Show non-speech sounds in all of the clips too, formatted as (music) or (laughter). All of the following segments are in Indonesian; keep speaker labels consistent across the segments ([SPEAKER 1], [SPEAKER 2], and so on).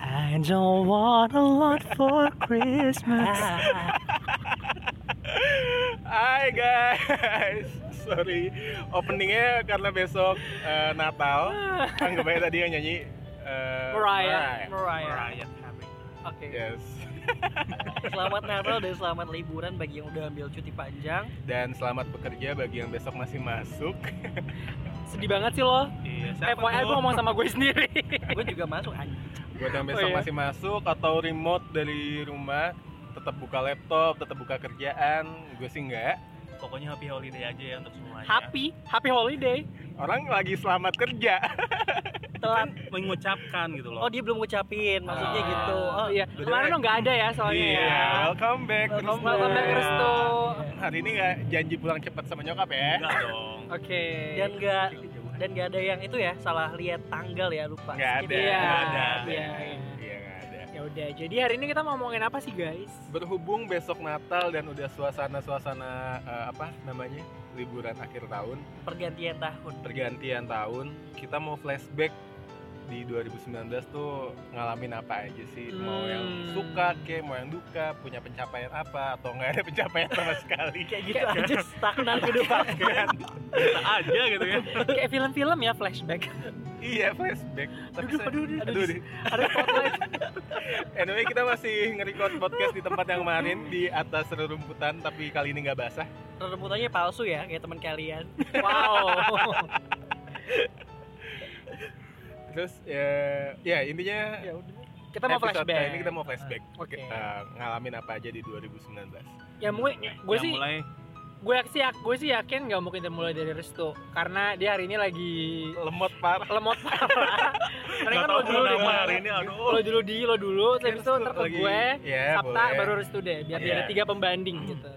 [SPEAKER 1] I don't want a lot for Christmas.
[SPEAKER 2] Hai guys, sorry openingnya karena besok eh, Natal. Anggap aja tadi yang nyanyi eh, Mariah.
[SPEAKER 1] Mariah.
[SPEAKER 3] Iya,
[SPEAKER 1] Mariah.
[SPEAKER 2] Carey.
[SPEAKER 1] Oke.
[SPEAKER 2] Yes.
[SPEAKER 1] Selamat Natal dan selamat liburan bagi yang udah ambil cuti panjang.
[SPEAKER 2] Dan selamat bekerja bagi yang besok masih masuk. (laughs)
[SPEAKER 1] Sedih banget sih lo.
[SPEAKER 4] Iya, siapa
[SPEAKER 1] FYI gue
[SPEAKER 4] tuh?
[SPEAKER 1] ngomong sama gue (laughs) sendiri.
[SPEAKER 2] Iya.
[SPEAKER 1] gue juga masuk anjing.
[SPEAKER 2] Buat yang
[SPEAKER 1] Oh,
[SPEAKER 2] besok
[SPEAKER 1] iya.
[SPEAKER 2] masih masuk atau remote dari rumah, tetap buka laptop, tetap buka kerjaan. Gue sih enggak.
[SPEAKER 4] Pokoknya happy holiday aja ya untuk semuanya.
[SPEAKER 1] Happy, happy holiday.
[SPEAKER 2] Orang lagi selamat kerja.
[SPEAKER 4] Kan
[SPEAKER 1] Telat.
[SPEAKER 4] mengucapkan gitu loh.
[SPEAKER 1] Oh dia belum ngucapin maksudnya
[SPEAKER 4] Ah.
[SPEAKER 1] gitu. Oh iya.
[SPEAKER 2] Udah
[SPEAKER 1] Kemarin
[SPEAKER 2] jelek.
[SPEAKER 1] lo nggak ada ya soalnya.
[SPEAKER 2] Iya,
[SPEAKER 1] ya.
[SPEAKER 2] welcome back.
[SPEAKER 1] Welcome
[SPEAKER 2] Restu.
[SPEAKER 1] welcome back Restu.
[SPEAKER 2] Hari ini nggak janji pulang cepat sama nyokap ya?
[SPEAKER 4] Enggak dong.
[SPEAKER 1] Oke. Dan nggak dan nggak ada yang itu ya salah lihat tanggal ya lupa.
[SPEAKER 2] Nggak ada,
[SPEAKER 1] Iya.
[SPEAKER 2] nggak ada.
[SPEAKER 1] Iya.
[SPEAKER 2] Iya nggak ada.
[SPEAKER 1] Ya udah. Jadi hari ini kita mau ngomongin apa sih guys?
[SPEAKER 2] Berhubung besok Natal dan udah suasana-suasana eh, apa namanya liburan akhir tahun,
[SPEAKER 1] Pergantian tahun.
[SPEAKER 2] pergantian tahun, kita mau flashback di 2019 tuh ngalamin apa aja sih? Mau yang
[SPEAKER 1] Hmm.
[SPEAKER 2] suka ke, mau yang duka, punya pencapaian apa atau nggak ada (laughs) pencapaian
[SPEAKER 1] (laughs)
[SPEAKER 2] sama sekali? Kan?
[SPEAKER 1] Kayak gitu kan? aja stagnan gitu. kehidupan.
[SPEAKER 4] Kita aja gitu ya.
[SPEAKER 1] Kayak film-film ya flashback.
[SPEAKER 2] (laughs) Iya flashback.
[SPEAKER 1] Aduh, aduh, aduh, aduh.
[SPEAKER 2] aduh.
[SPEAKER 1] Ada spotlight.
[SPEAKER 2] Anyway kita masih nge-record podcast di tempat yang kemarin di atas rerumputan tapi kali ini nggak basah.
[SPEAKER 1] Rebutannya palsu ya kayak teman kalian. Wow.
[SPEAKER 2] Terus eh, ya intinya
[SPEAKER 1] ya udah. Kita mau
[SPEAKER 2] episode
[SPEAKER 1] flashback. Ah,
[SPEAKER 2] kali ini kita mau flashback.
[SPEAKER 1] Oke.
[SPEAKER 2] Kita ngalamin apa aja di 2019.
[SPEAKER 1] Ya gue gue
[SPEAKER 4] Yang
[SPEAKER 1] sih
[SPEAKER 4] mulai
[SPEAKER 1] gue sih gue sih yakin nggak mungkin mulai dari Restu karena dia hari ini lagi
[SPEAKER 2] Lemot parah.
[SPEAKER 1] lemot (laughs) parah. Karena
[SPEAKER 4] enggak
[SPEAKER 1] kan
[SPEAKER 4] tahu
[SPEAKER 1] lo dulu
[SPEAKER 4] mau nama
[SPEAKER 1] deh.
[SPEAKER 4] hari ini aduh.
[SPEAKER 1] Lo dulu di lo dulu terus itu ntar ke
[SPEAKER 2] Iya, Lagi-
[SPEAKER 1] gue.
[SPEAKER 2] ya,
[SPEAKER 1] Sabta
[SPEAKER 2] boleh.
[SPEAKER 1] baru Restu deh biar dia
[SPEAKER 2] Iya.
[SPEAKER 1] ada tiga pembanding gitu.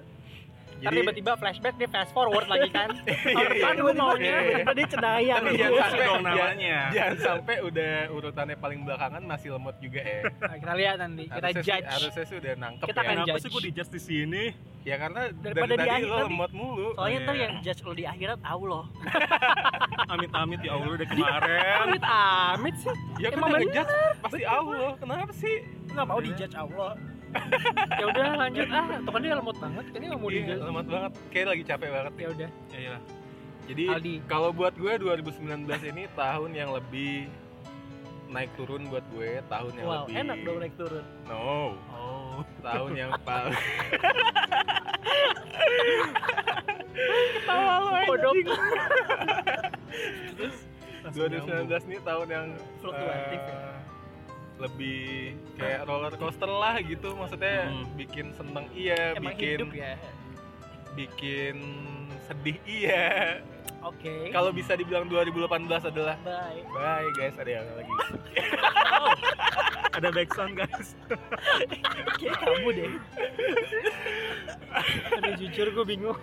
[SPEAKER 2] Jadi (laughs)
[SPEAKER 1] Tapi tiba-tiba flashback dia fast forward lagi kan.
[SPEAKER 2] Iya,
[SPEAKER 1] Tahun
[SPEAKER 2] iya.
[SPEAKER 1] depan gue maunya
[SPEAKER 2] Iya, iya.
[SPEAKER 1] tiba-tiba dia cenayang.
[SPEAKER 2] Tapi iya.
[SPEAKER 1] gitu.
[SPEAKER 2] jangan
[SPEAKER 4] Jangan
[SPEAKER 2] sampai-
[SPEAKER 4] dong namanya.
[SPEAKER 2] jangan sampai udah urutannya paling belakangan masih lemot juga ya.
[SPEAKER 1] Nah, kita lihat nanti, (laughs) kita
[SPEAKER 2] Harusnya sih-
[SPEAKER 1] judge.
[SPEAKER 2] Harusnya sih udah nangkep
[SPEAKER 1] Kita
[SPEAKER 2] ya.
[SPEAKER 1] akan-
[SPEAKER 4] Kenapa
[SPEAKER 1] judge.
[SPEAKER 4] sih gue di just di sini?
[SPEAKER 2] Ya karena dari
[SPEAKER 1] Daripada di
[SPEAKER 2] tadi
[SPEAKER 1] akhir
[SPEAKER 2] lo
[SPEAKER 1] tadi.
[SPEAKER 2] lemot mulu.
[SPEAKER 1] Soalnya ntar
[SPEAKER 4] Iya.
[SPEAKER 1] yang judge lo di akhirat Allah.
[SPEAKER 4] Amit-amit ya Allah udah kemarin.
[SPEAKER 1] Amit amit sih.
[SPEAKER 2] Ya kan
[SPEAKER 1] Emang
[SPEAKER 2] yang
[SPEAKER 1] bener.
[SPEAKER 2] ngejudge pasti Allah. Kenapa sih?
[SPEAKER 1] Nggak mau di judge Allah. ya udah lanjut ah. Tuh kan dia lemot banget. Kayaknya nggak mau di
[SPEAKER 2] Iya,
[SPEAKER 1] judge.
[SPEAKER 2] lemot banget. Kayak lagi capek banget.
[SPEAKER 1] Ya udah.
[SPEAKER 4] Ya iyalah.
[SPEAKER 2] Jadi
[SPEAKER 1] Aldi.
[SPEAKER 2] kalau buat gue 2019 ini tahun yang lebih naik turun buat gue, tahun yang
[SPEAKER 1] Wow,
[SPEAKER 2] Ya lebih
[SPEAKER 1] enak dong naik turun.
[SPEAKER 2] No,
[SPEAKER 4] Oh.
[SPEAKER 2] tahun
[SPEAKER 1] (laughs)
[SPEAKER 2] yang paling
[SPEAKER 1] Tawa lo Kodok.
[SPEAKER 2] 2019 ini tahun yang
[SPEAKER 1] Fluktuatif ya.
[SPEAKER 2] eh, lebih kayak roller coaster lah gitu maksudnya
[SPEAKER 4] Hmm.
[SPEAKER 2] bikin seneng iya
[SPEAKER 1] Emang
[SPEAKER 2] bikin
[SPEAKER 1] hidup ya.
[SPEAKER 2] bikin sedih iya
[SPEAKER 1] Oke.
[SPEAKER 2] kalau bisa dibilang 2018 adalah
[SPEAKER 1] Bye.
[SPEAKER 2] bye guys ada yang lagi
[SPEAKER 4] Ada backsound guys.
[SPEAKER 1] Kayak kamu deh. Aduh jujur gue bingung.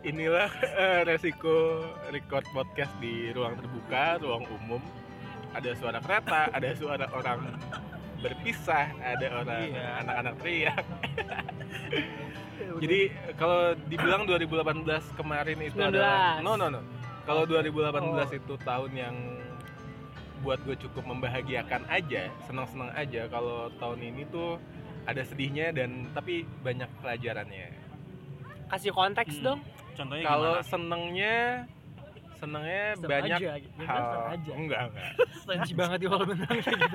[SPEAKER 2] inilah eh, resiko record podcast di ruang terbuka, ruang umum. Ada suara kereta, ada suara orang berpisah, ada orang
[SPEAKER 4] Iya.
[SPEAKER 2] anak-anak teriak. Jadi kalau dibilang 2018 kemarin itu adalah
[SPEAKER 1] 19.
[SPEAKER 2] no no no. Kalau 2018 itu tahun yang buat gue cukup membahagiakan aja, senang-senang aja. Kalau tahun ini tuh ada sedihnya dan tapi banyak pelajarannya.
[SPEAKER 1] kasih konteks
[SPEAKER 4] Hmm.
[SPEAKER 1] dong.
[SPEAKER 4] Contohnya
[SPEAKER 2] Kalau
[SPEAKER 4] gimana?
[SPEAKER 2] senengnya senengnya
[SPEAKER 1] Seneng
[SPEAKER 2] banyak
[SPEAKER 1] aja. gitu. Ya kan,
[SPEAKER 2] hal
[SPEAKER 1] seneng aja.
[SPEAKER 2] enggak enggak
[SPEAKER 1] Senji banget di kalau benang kayak gitu.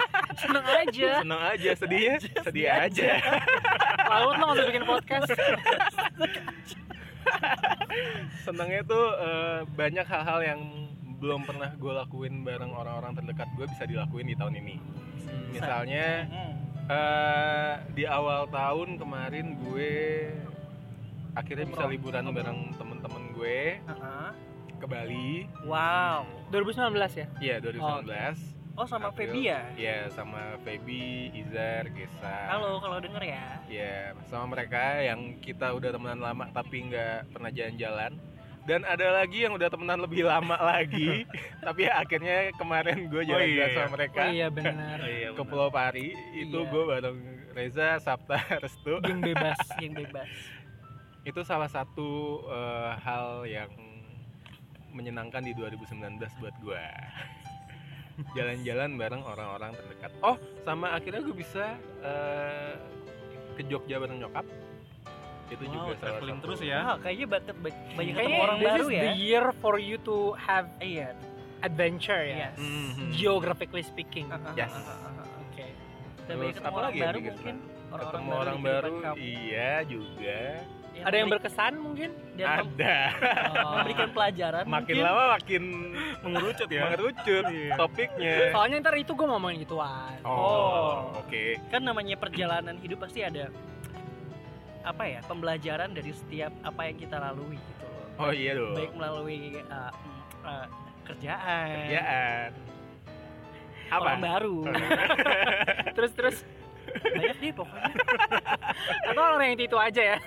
[SPEAKER 1] Seneng aja.
[SPEAKER 2] seneng aja sedihnya sedih aja
[SPEAKER 1] Laut lo nggak usah bikin podcast.
[SPEAKER 2] senengnya tuh eh, banyak hal-hal yang belum pernah gue lakuin bareng orang-orang terdekat gue bisa dilakuin di tahun ini misalnya eh, di awal tahun kemarin gue akhirnya bisa
[SPEAKER 1] Umroh.
[SPEAKER 2] liburan bareng temen-temen gue
[SPEAKER 1] Heeh.
[SPEAKER 2] ke Bali
[SPEAKER 1] Wow. 2019 ya?
[SPEAKER 2] ya 2019
[SPEAKER 1] Oh sama
[SPEAKER 2] April.
[SPEAKER 1] Feby ya?
[SPEAKER 2] ya sama Feby Izar Gesa
[SPEAKER 1] Halo kalau denger ya.
[SPEAKER 2] Ya, sama mereka yang kita udah temenan lama tapi nggak pernah jalan-jalan. Dan ada lagi yang udah temenan lebih lama (laughs) lagi, tapi ya akhirnya kemarin gue
[SPEAKER 4] Oh
[SPEAKER 2] jalan-jalan
[SPEAKER 4] iya.
[SPEAKER 2] sama mereka
[SPEAKER 1] Oh iya benar.
[SPEAKER 4] (laughs) Oh, iya,
[SPEAKER 2] ke Pulau Pari. Itu
[SPEAKER 1] Iya.
[SPEAKER 2] gue bareng Reza, Sabta, (laughs) Restu.
[SPEAKER 1] yang bebas, yang bebas.
[SPEAKER 2] Itu salah satu eh, hal yang menyenangkan di 2019 buat gue. (laughs) jalan-jalan bareng orang-orang terdekat oh sama akhirnya gue bisa eh, ke Jogja bareng nyokap itu
[SPEAKER 4] Wow,
[SPEAKER 2] juga salah
[SPEAKER 4] traveling
[SPEAKER 2] satu.
[SPEAKER 4] terus ya.
[SPEAKER 3] Ah, kayaknya banget ba- banyak ketemu
[SPEAKER 1] Kayaknya Iya.
[SPEAKER 3] orang
[SPEAKER 1] this
[SPEAKER 3] baru
[SPEAKER 1] is
[SPEAKER 3] ya.
[SPEAKER 1] the year for you to have a adventure
[SPEAKER 3] Yes.
[SPEAKER 1] ya.
[SPEAKER 4] Hmm,
[SPEAKER 2] Mhm.
[SPEAKER 1] Geographically speaking. (laughs)
[SPEAKER 3] Ah, ah,
[SPEAKER 2] Yes.
[SPEAKER 3] ah, ah, ah, ah.
[SPEAKER 1] Oke.
[SPEAKER 3] Dan
[SPEAKER 2] Terus
[SPEAKER 3] banyak ketemu
[SPEAKER 2] apa
[SPEAKER 3] orang
[SPEAKER 2] lagi yang
[SPEAKER 3] baru
[SPEAKER 2] bikin
[SPEAKER 3] mungkin.
[SPEAKER 2] ketemu
[SPEAKER 3] baru
[SPEAKER 2] orang
[SPEAKER 3] di
[SPEAKER 2] baru
[SPEAKER 3] kehidupan kamu.
[SPEAKER 2] iya juga
[SPEAKER 1] Ada yang Oh. berkesan mungkin?
[SPEAKER 3] dan mem-
[SPEAKER 2] ada
[SPEAKER 3] (laughs) memberikan pelajaran
[SPEAKER 2] makin
[SPEAKER 3] Ya, mungkin.
[SPEAKER 2] lama makin
[SPEAKER 4] Mengerucut ya.
[SPEAKER 2] mengerucut
[SPEAKER 4] Iya.
[SPEAKER 2] topiknya
[SPEAKER 1] Soalnya ntar itu gue mau main gituan.
[SPEAKER 2] oh oke
[SPEAKER 3] kan namanya perjalanan hidup pasti ada apa ya pembelajaran dari setiap apa yang kita lalui gitu loh
[SPEAKER 2] oh iya dong
[SPEAKER 3] baik melalui uh, mm, uh, kerjaan,
[SPEAKER 2] kerjaan Iya, apa
[SPEAKER 3] orang
[SPEAKER 2] (laughs)
[SPEAKER 3] baru
[SPEAKER 1] Terus terus
[SPEAKER 3] banyak deh pokoknya
[SPEAKER 1] atau orang yang itu aja ya.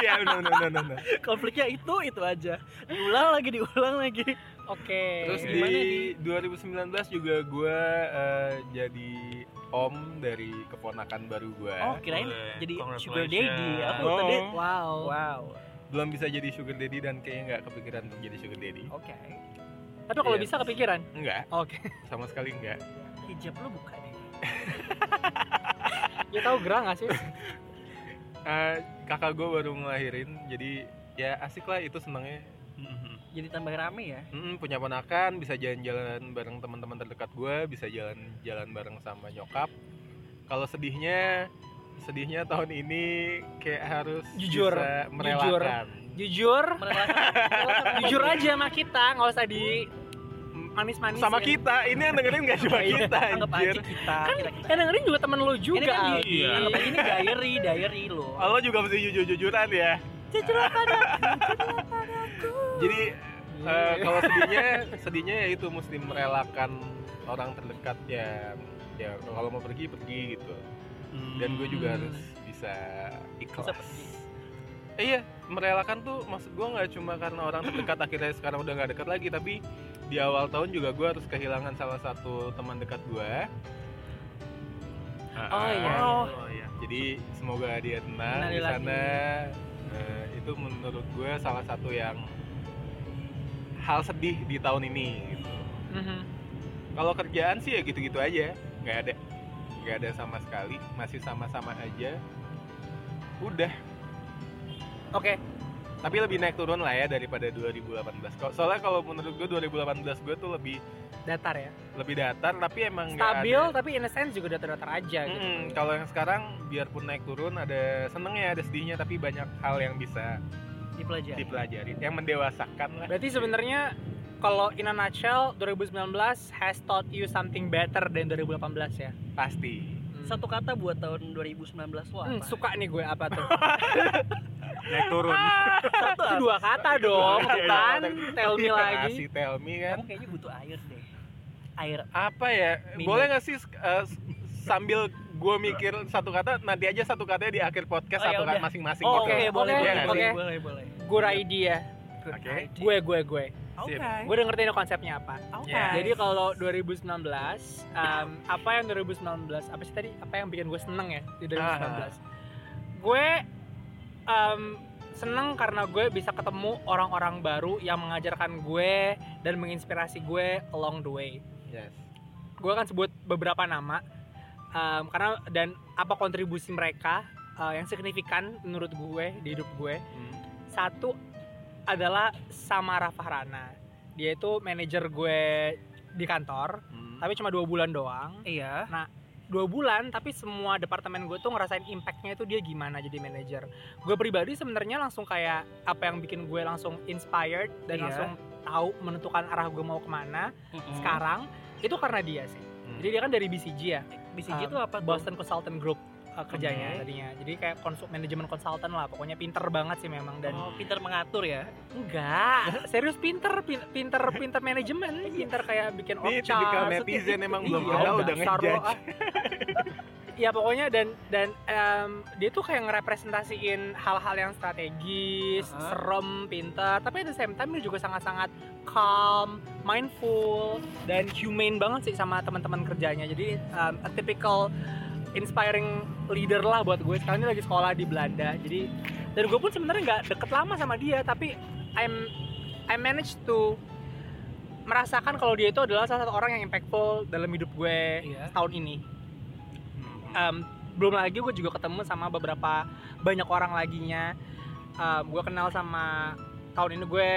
[SPEAKER 2] iya no no no no, no.
[SPEAKER 3] konfliknya itu itu aja diulang lagi diulang lagi
[SPEAKER 1] Oke.
[SPEAKER 2] Terus di
[SPEAKER 3] Gimana nih?
[SPEAKER 2] 2019 juga gue jadi om dari keponakan baru gue.
[SPEAKER 3] oh kirain
[SPEAKER 4] Boleh.
[SPEAKER 3] jadi sugar
[SPEAKER 4] Congratulations.
[SPEAKER 3] daddy aku
[SPEAKER 2] Oh.
[SPEAKER 3] tadi
[SPEAKER 1] Wow.
[SPEAKER 3] wow
[SPEAKER 2] Belum bisa jadi sugar daddy dan kayaknya nggak kepikiran untuk jadi sugar daddy.
[SPEAKER 3] oke
[SPEAKER 1] Tapi kalau
[SPEAKER 2] Iya.
[SPEAKER 1] bisa kepikiran.
[SPEAKER 2] Enggak,
[SPEAKER 1] Oke.
[SPEAKER 2] sama sekali enggak.
[SPEAKER 3] hijab lu buka deh
[SPEAKER 1] Ya tahu gerah nggak sih?
[SPEAKER 2] Eh, kakak gue baru ngelahirin, jadi ya asik lah itu senangnya.
[SPEAKER 4] Mhm.
[SPEAKER 3] jadi tambah rame ya
[SPEAKER 2] Mm-mm, punya ponakan, bisa jalan-jalan bareng teman-teman terdekat gue, bisa jalan-jalan bareng sama nyokap. Kalau sedihnya, sedihnya tahun ini kayak harus
[SPEAKER 1] Jujur,
[SPEAKER 2] bisa
[SPEAKER 1] jujur.
[SPEAKER 2] merelakan.
[SPEAKER 1] Jujur. (laughs) Jujur aja sama kita, nggak usah di manis-manis. ya.
[SPEAKER 2] sama kita ini yang dengerin gak cuma
[SPEAKER 3] Iya,
[SPEAKER 2] kita
[SPEAKER 3] anggap
[SPEAKER 2] anjir
[SPEAKER 3] aja kita kita kita
[SPEAKER 1] Kan dengerin juga temen lu juga.
[SPEAKER 3] ini kan di,
[SPEAKER 4] Iya.
[SPEAKER 3] anggap aja ini diary diary lo
[SPEAKER 2] lo juga mesti jujur-jujuran ya (laughs) jadi eh, kalau sedihnya sedihnya ya itu mesti merelakan orang terdekat ya ya kalau mau pergi pergi gitu dan gue juga harus bisa ikhlas
[SPEAKER 3] Hmm. Bisa pergi.
[SPEAKER 2] Eh, iya merelakan tuh maksud gue nggak cuma karena orang
[SPEAKER 3] (clears throat)
[SPEAKER 2] terdekat akhirnya sekarang udah nggak dekat lagi tapi di awal tahun juga gue harus kehilangan salah satu teman dekat gue
[SPEAKER 1] Oh, iya.
[SPEAKER 4] Oh, iya.
[SPEAKER 2] jadi semoga dia tenang di
[SPEAKER 1] Innalillahi.
[SPEAKER 2] sana Eh, itu menurut gue salah satu yang hal sedih di tahun ini gitu
[SPEAKER 1] Mhm.
[SPEAKER 2] kalau kerjaan sih ya gitu-gitu aja nggak ada nggak ada sama sekali masih sama-sama aja udah
[SPEAKER 1] Oke.
[SPEAKER 2] tapi lebih naik turun lah ya daripada 2018 Kok- soalnya kalau menurut gue 2018 gue tuh lebih
[SPEAKER 1] Datar ya.
[SPEAKER 2] lebih datar tapi emang nggak
[SPEAKER 1] Stabil
[SPEAKER 2] ada-
[SPEAKER 1] tapi in a sense juga datar-datar aja gitu.
[SPEAKER 2] Mm, kalau yang sekarang biarpun naik turun ada senengnya ada sedihnya tapi banyak hal yang bisa
[SPEAKER 1] Iya.
[SPEAKER 3] dipelajari
[SPEAKER 2] dipelajari yang mendewasakan lah
[SPEAKER 1] Berarti sebenarnya kalau in a nutshell 2019 has taught you something better than 2018 ya.
[SPEAKER 2] pasti
[SPEAKER 3] satu kata buat tahun 2019 lo apa?
[SPEAKER 1] Hmm, suka nih gue apa (laughs) tuh?
[SPEAKER 4] Naik
[SPEAKER 1] (laughs)
[SPEAKER 4] turun.
[SPEAKER 3] satu
[SPEAKER 1] Itu
[SPEAKER 3] apa?
[SPEAKER 1] dua kata dong,
[SPEAKER 2] Iya, iya,
[SPEAKER 1] bukan
[SPEAKER 2] iya.
[SPEAKER 1] Ah, tell me
[SPEAKER 2] Iya,
[SPEAKER 1] lagi.
[SPEAKER 2] si tell me kan
[SPEAKER 3] kamu kayaknya butuh air deh air
[SPEAKER 2] apa ya
[SPEAKER 3] Minum.
[SPEAKER 2] boleh nggak sih eh, s- sambil gue mikir satu kata nanti aja satu katanya di akhir podcast
[SPEAKER 3] Oh, ya
[SPEAKER 2] satu kata
[SPEAKER 3] udah.
[SPEAKER 2] masing-masing
[SPEAKER 1] Oh,
[SPEAKER 2] gitu.
[SPEAKER 1] oke,
[SPEAKER 3] boleh,
[SPEAKER 2] Iya
[SPEAKER 3] boleh,
[SPEAKER 2] nggak
[SPEAKER 3] boleh,
[SPEAKER 2] sih?
[SPEAKER 1] oke.
[SPEAKER 3] boleh, boleh.
[SPEAKER 1] Good idea.
[SPEAKER 3] Good
[SPEAKER 2] Oke.
[SPEAKER 3] idea.
[SPEAKER 1] ya. Gue gue gue.
[SPEAKER 3] Oke.
[SPEAKER 1] Gue udah ngerti nih konsepnya apa.
[SPEAKER 3] Oke.
[SPEAKER 2] Ya.
[SPEAKER 1] Jadi kalau 2019, um, apa yang 2019, apa sih tadi, apa yang bikin gue seneng ya di 2019? Gue um, seneng karena gue bisa ketemu orang-orang baru yang mengajarkan gue dan menginspirasi gue along the way.
[SPEAKER 2] Yes.
[SPEAKER 1] Gue akan sebut beberapa nama, um, karena dan apa kontribusi mereka uh, yang signifikan menurut gue di hidup gue.
[SPEAKER 2] Hmm.
[SPEAKER 1] Satu adalah Samara Fahrana. Dia itu manajer gue di kantor
[SPEAKER 2] Hmm.
[SPEAKER 1] tapi cuma dua bulan doang
[SPEAKER 3] Iya.
[SPEAKER 1] dua bulan tapi semua departemen gue tuh ngerasain impactnya itu dia gimana jadi manajer gue pribadi sebenarnya langsung kayak apa yang bikin gue langsung inspired
[SPEAKER 3] Iya.
[SPEAKER 1] dan
[SPEAKER 3] Hmm.
[SPEAKER 1] langsung tahu menentukan arah gue mau kemana sekarang itu karena dia sih
[SPEAKER 2] Hmm.
[SPEAKER 1] jadi dia kan dari BCG ya
[SPEAKER 3] BCG
[SPEAKER 1] Um,
[SPEAKER 3] itu gitu apa tuh?
[SPEAKER 1] Boston Consultant Group uh,
[SPEAKER 3] Oke.
[SPEAKER 1] kerjanya tadinya jadi kayak konsul manajemen konsultan lah pokoknya pinter banget sih memang dan
[SPEAKER 3] Oh, pintar mengatur ya.
[SPEAKER 1] enggak (laughs) serius pinter pin- pinter pinter manajemen pinter kayak bikin
[SPEAKER 2] ini
[SPEAKER 1] org
[SPEAKER 2] tipikal
[SPEAKER 1] chart,
[SPEAKER 2] netizen emang belum
[SPEAKER 1] Iya,
[SPEAKER 2] kenal
[SPEAKER 1] dasar
[SPEAKER 2] udah
[SPEAKER 1] lo,
[SPEAKER 2] ngejudge
[SPEAKER 1] ah. (laughs) ya pokoknya dan dan em, dia tuh kayak ngerepresentasiin hal-hal yang strategis,
[SPEAKER 3] Aha.
[SPEAKER 1] serem, pintar, tapi at the same time dia juga sangat-sangat calm, mindful dan humane banget sih sama teman-teman kerjanya. Jadi em, a typical inspiring leader lah buat gue. Sekarang dia lagi sekolah di Belanda. Jadi dan gue pun sebenarnya nggak deket lama sama dia, tapi I'm I managed to merasakan kalau dia itu adalah salah satu orang yang impactful dalam hidup gue
[SPEAKER 3] Iya.
[SPEAKER 1] tahun ini Em, belum lagi gue juga ketemu sama beberapa banyak orang laginya Em, gue kenal sama tahun ini gue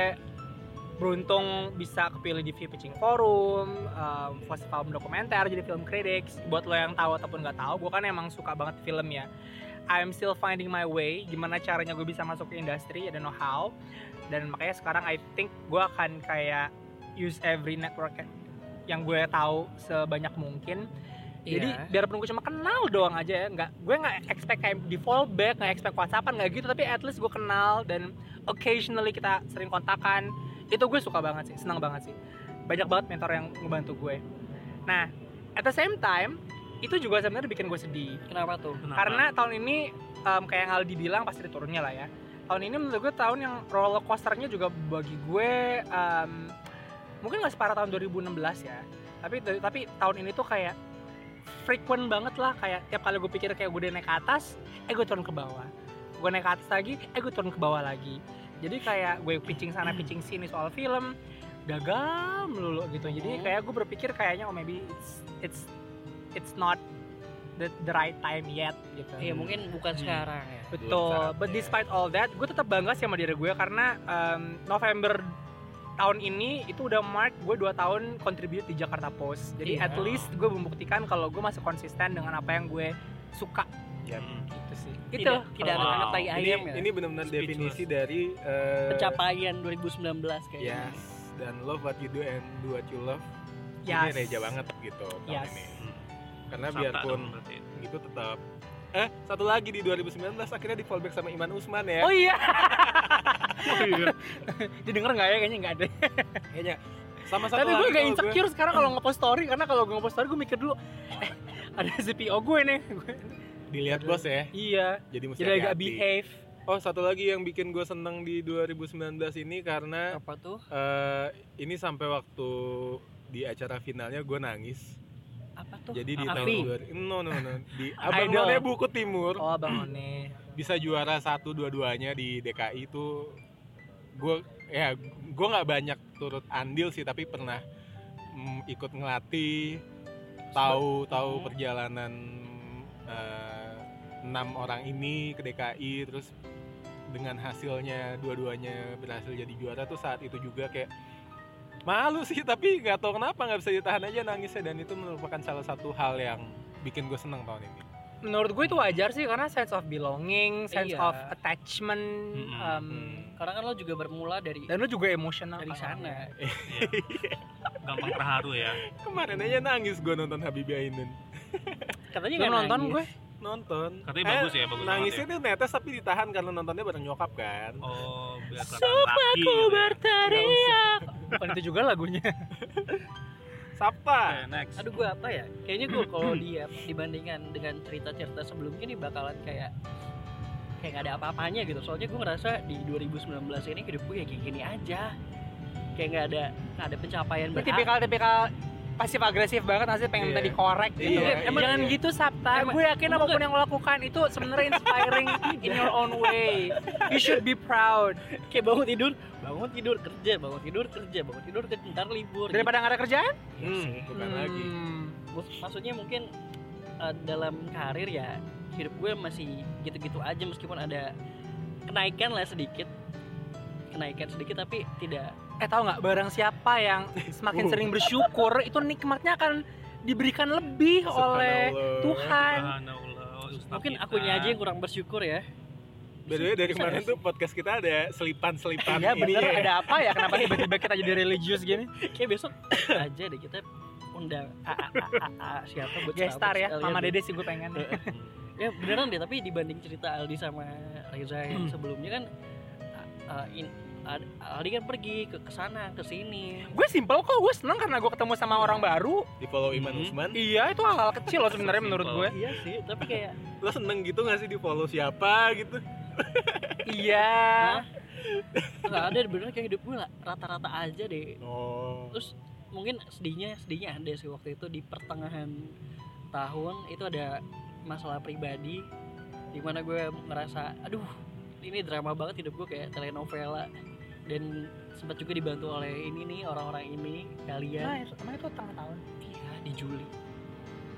[SPEAKER 1] beruntung bisa kepilih di View Pitching Forum, em, festival film dokumenter, jadi film critics. Buat lo yang tahu ataupun nggak tahu, gue kan emang suka banget film ya. I'm still finding my way, gimana caranya gue bisa masuk ke industri, I don't know how. Dan makanya sekarang I think gue akan kayak use every network yang gue tahu sebanyak mungkin. Jadi
[SPEAKER 3] Iya.
[SPEAKER 1] biarpun gue cuma kenal doang aja ya, nggak, gue nggak expect kayak di fallback, nggak expect whatsappan, nggak gitu. Tapi at least gue kenal dan occasionally kita sering kontakan itu gue suka banget sih senang banget sih banyak banget mentor yang ngebantu gue nah at the same time itu juga sebenarnya bikin gue sedih
[SPEAKER 3] Kenapa tuh?
[SPEAKER 1] karena tahun ini em, kayak yang Aldi bilang pasti ada turunnya lah ya tahun ini menurut gue tahun yang roller coasternya juga bagi gue em, mungkin nggak separah tahun 2016 ya tapi tapi tahun ini tuh kayak frequent banget lah kayak tiap kali gue pikir kayak gue udah naik ke atas eh gue turun ke bawah gue naik ke atas lagi eh gue turun ke bawah lagi jadi kayak gue pitching sana pitching sini soal film gagal melulu gitu jadi kayak gue berpikir kayaknya oh maybe it's it's it's not the, the right time yet gitu
[SPEAKER 3] Iya mungkin bukan sekarang ya.
[SPEAKER 1] Betul.
[SPEAKER 2] Belum saatnya.
[SPEAKER 1] But despite all that, gue tetap bangga sih sama diri gue karena em, November tahun ini itu udah mark gue 2 tahun contribute di Jakarta Post. Jadi
[SPEAKER 3] Iya.
[SPEAKER 1] at least gue membuktikan kalau gue masih konsisten dengan apa yang gue suka gitu sih. Itu
[SPEAKER 3] Tidak, tidak ada
[SPEAKER 4] Wow.
[SPEAKER 3] anak tai
[SPEAKER 2] ini
[SPEAKER 3] ayam ya.
[SPEAKER 2] ini benar-benar
[SPEAKER 4] Speechless.
[SPEAKER 2] definisi dari eh,
[SPEAKER 3] pencapaian 2019 kayaknya.
[SPEAKER 2] yes dan love what you do and do what you love
[SPEAKER 1] Yes.
[SPEAKER 2] ini Iya, reja banget gitu tahun
[SPEAKER 1] Yes.
[SPEAKER 2] ini karena biarpun
[SPEAKER 4] (laughs) itu.
[SPEAKER 2] itu tetap eh satu lagi di 2019 akhirnya di fallback sama Iman Usman ya
[SPEAKER 1] Oh iya.
[SPEAKER 4] Iya.
[SPEAKER 1] Didengar nggak ya kayaknya nggak ada.
[SPEAKER 2] kayaknya sama satu
[SPEAKER 1] Tapi
[SPEAKER 2] lagi
[SPEAKER 1] gue agak
[SPEAKER 2] kalau
[SPEAKER 1] insecure sekarang kalau nge-post story karena kalau gue nge-post story gue mikir dulu eh ada CPO gue nih. Gue-
[SPEAKER 2] dilihat bos ya
[SPEAKER 1] iya.
[SPEAKER 2] jadi mesti
[SPEAKER 1] Jadi agak
[SPEAKER 2] hati-hati.
[SPEAKER 1] behave.
[SPEAKER 2] oh satu lagi yang bikin gue seneng di 2019 ini karena
[SPEAKER 3] Apa tuh?
[SPEAKER 2] eh, ini sampai waktu di acara finalnya gue nangis
[SPEAKER 3] Apa tuh?
[SPEAKER 2] jadi di
[SPEAKER 3] Afi.
[SPEAKER 2] tahun dua no no no di abang
[SPEAKER 1] Idol.
[SPEAKER 2] None buku timur
[SPEAKER 1] Oh Bang One.
[SPEAKER 2] bisa juara satu dua-duanya di DKI itu gue ya gue nggak banyak turut andil sih tapi pernah mm, ikut ngelatih tahu
[SPEAKER 3] Mhm.
[SPEAKER 2] tahu perjalanan eh, enam orang ini ke DKI terus dengan hasilnya dua-duanya berhasil jadi juara tuh saat itu juga kayak malu sih (laughs) tapi nggak tahu kenapa nggak bisa ditahan aja nangisnya dan itu merupakan salah satu hal yang bikin gue seneng tahun ini
[SPEAKER 1] menurut gue itu wajar sih karena sense of belonging, sense
[SPEAKER 3] Iya.
[SPEAKER 1] of attachment,
[SPEAKER 4] Mm-mm.
[SPEAKER 1] um,
[SPEAKER 3] Karena kan lo juga bermula dari
[SPEAKER 1] dan lu juga kan. emosional
[SPEAKER 3] dari sana.
[SPEAKER 4] Gampang terharu ya.
[SPEAKER 2] Kemarin aja nangis gue nonton Habibie Ainun
[SPEAKER 3] Katanya
[SPEAKER 1] Lu
[SPEAKER 3] nggak
[SPEAKER 1] nonton
[SPEAKER 3] nangis.
[SPEAKER 1] gue?
[SPEAKER 2] Nonton
[SPEAKER 4] Katanya
[SPEAKER 2] Eh,
[SPEAKER 4] bagus ya, bagus banget
[SPEAKER 2] Nangisnya tuh netes tapi ditahan karena nontonnya bareng nyokap kan
[SPEAKER 4] Oh, biar kelihatan
[SPEAKER 1] Sumpah
[SPEAKER 4] laki.
[SPEAKER 3] Iya,
[SPEAKER 1] ku
[SPEAKER 4] gitu ya.
[SPEAKER 1] berteriak. Bukan itu juga lagunya.
[SPEAKER 2] Sabta
[SPEAKER 4] Oke, next.
[SPEAKER 3] Aduh gue apa ya? Kayaknya gue kalau
[SPEAKER 1] Hmm.
[SPEAKER 3] dia dibandingkan dengan cerita-cerita sebelumnya nih bakalan kayak kayak gak ada apa-apanya gitu. Soalnya gue ngerasa di 2019 ini hidup gue ya kayak gini aja. Kayak nggak ada nggak ada pencapaian
[SPEAKER 1] Ini
[SPEAKER 3] berarti
[SPEAKER 1] tipikal-tipikal pasif agresif banget asli pengen
[SPEAKER 2] Iya.
[SPEAKER 1] minta dikorek gitu.
[SPEAKER 2] Iya,
[SPEAKER 1] Emang
[SPEAKER 2] iya.
[SPEAKER 1] jangan gitu Sabta.
[SPEAKER 3] Emang-
[SPEAKER 1] gue yakin
[SPEAKER 3] Emang
[SPEAKER 1] apapun yang lo lakukan itu sebenarnya inspiring in your own way. You should be proud.
[SPEAKER 3] kayak bangun tidur, bangun tidur kerja, bangun tidur kerja, bangun tidur kerja, ntar libur. gitu.
[SPEAKER 1] Daripada nggak ada kerjaan?
[SPEAKER 4] Iya
[SPEAKER 2] hmm, Bukan
[SPEAKER 1] Hmm.
[SPEAKER 2] lagi
[SPEAKER 3] Mus- maksudnya mungkin uh, dalam karir ya hidup gue masih gitu-gitu aja meskipun ada kenaikan lah sedikit kenaikan sedikit tapi tidak
[SPEAKER 1] Eh tau nggak barang siapa yang
[SPEAKER 2] Oh.
[SPEAKER 1] semakin sering bersyukur itu nikmatnya akan diberikan lebih oleh
[SPEAKER 2] Subhanallah.
[SPEAKER 1] Tuhan.
[SPEAKER 4] Subhanallah, Ustaz
[SPEAKER 3] mungkin
[SPEAKER 4] kita.
[SPEAKER 3] akunya aja yang kurang bersyukur ya
[SPEAKER 2] By the way, dari kemarin tuh podcast kita ada selipan-selipan
[SPEAKER 1] Iya
[SPEAKER 2] ini
[SPEAKER 1] bener ada apa ya kenapa tiba-tiba kita jadi religius gini?
[SPEAKER 3] kayak besok (coughs) aja deh kita undang A, A, A, A, A, siapa buat
[SPEAKER 1] Gestar ya,
[SPEAKER 3] Starbucks,
[SPEAKER 1] Mama
[SPEAKER 3] kalian.
[SPEAKER 1] Dede sih gue pengen.
[SPEAKER 2] Eh.
[SPEAKER 3] ya beneran deh tapi dibanding cerita Aldi sama Reza yang sebelumnya kan uh, uh, in- Ad- Aldi kan pergi ke kesana ke sini
[SPEAKER 1] gue simple kok, gue seneng karena gue ketemu sama orang baru.
[SPEAKER 2] Di follow Iman
[SPEAKER 4] Hmm.
[SPEAKER 2] Usman
[SPEAKER 1] Iya itu hal-hal kecil loh sebenarnya menurut gue.
[SPEAKER 3] iya sih tapi kayak
[SPEAKER 2] Lo seneng gitu gak sih di follow siapa gitu
[SPEAKER 1] Iya.
[SPEAKER 3] nggak ada bener kayak hidup gue lah, rata-rata aja deh
[SPEAKER 2] Oh
[SPEAKER 3] terus mungkin sedihnya sedihnya ada sih waktu itu di pertengahan tahun itu ada masalah pribadi di mana gue ngerasa aduh ini drama banget hidup gue kayak telenovela dan sempat juga dibantu oleh ini nih orang-orang ini kalian
[SPEAKER 2] Iya.
[SPEAKER 1] Nah, itu- emang itu tengah tahun.
[SPEAKER 3] iya di Juli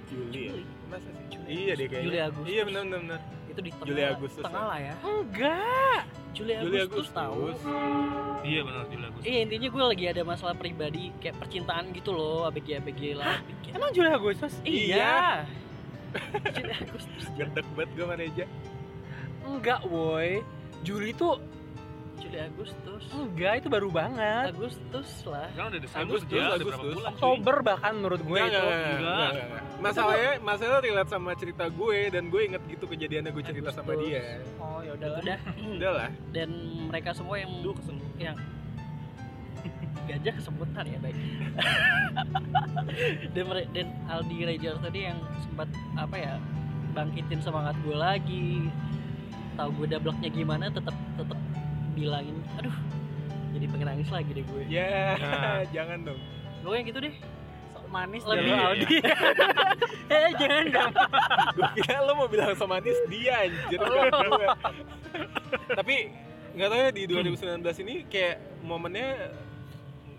[SPEAKER 2] Juli ya?
[SPEAKER 3] Juli
[SPEAKER 2] Masa sih?
[SPEAKER 3] Juli,
[SPEAKER 2] Iya deh kayaknya.
[SPEAKER 3] Juli, Agustus.
[SPEAKER 2] Iya benar benar benar.
[SPEAKER 3] itu di tengah,
[SPEAKER 2] Juli, Agustus,
[SPEAKER 3] tengah
[SPEAKER 2] ya.
[SPEAKER 3] lah ya
[SPEAKER 1] Enggak.
[SPEAKER 3] Juli Agustus,
[SPEAKER 2] Juli Agustus.
[SPEAKER 3] tahu
[SPEAKER 4] Iya benar Juli Agustus.
[SPEAKER 3] Iya intinya gue lagi ada masalah pribadi kayak percintaan gitu loh abg abg lah abg.
[SPEAKER 1] Emang Juli Agustus?
[SPEAKER 3] iya Juli Agustus
[SPEAKER 2] Gedek banget gue manajer.
[SPEAKER 1] Enggak, woi. Juli itu
[SPEAKER 3] Juli Agustus
[SPEAKER 1] enggak, itu baru banget.
[SPEAKER 3] Agustus lah
[SPEAKER 4] Sekarang udah Desember
[SPEAKER 2] Agustus,
[SPEAKER 4] dia ada
[SPEAKER 2] Agustus.
[SPEAKER 4] berapa bulan? cuy?
[SPEAKER 1] Oktober bahkan menurut gue
[SPEAKER 2] Enggak,
[SPEAKER 1] itu.
[SPEAKER 2] enggak, enggak,
[SPEAKER 4] enggak.
[SPEAKER 2] enggak, enggak. Masalahnya, masalah relate sama cerita gue dan gue inget gitu kejadiannya gue cerita sama
[SPEAKER 3] Agustus.
[SPEAKER 2] dia.
[SPEAKER 1] Oh, ya udah.
[SPEAKER 3] udah
[SPEAKER 1] (laughs)
[SPEAKER 2] Udah lah.
[SPEAKER 3] dan mereka semua yang
[SPEAKER 4] Duh kesel.
[SPEAKER 3] yang gajah kesebutan ya
[SPEAKER 1] (laughs)
[SPEAKER 3] baik dan, mere- dan Aldi Rejar tadi yang sempat apa ya bangkitin semangat gue lagi tahu gue dableknya gimana tetap tetap bilangin aduh jadi pengen nangis lagi deh gue
[SPEAKER 2] Ya,
[SPEAKER 4] Nah.
[SPEAKER 2] (laughs) jangan dong.
[SPEAKER 3] gue yang gitu deh
[SPEAKER 1] Sok manis
[SPEAKER 3] Lebih-
[SPEAKER 1] dari Aldi.
[SPEAKER 3] (laughs) eh jangan dong
[SPEAKER 2] Gue kira lo mau bilang sama Anis dia anjir. bukan gue. Tapi nggak tahu ya di 2019 ini kayak momennya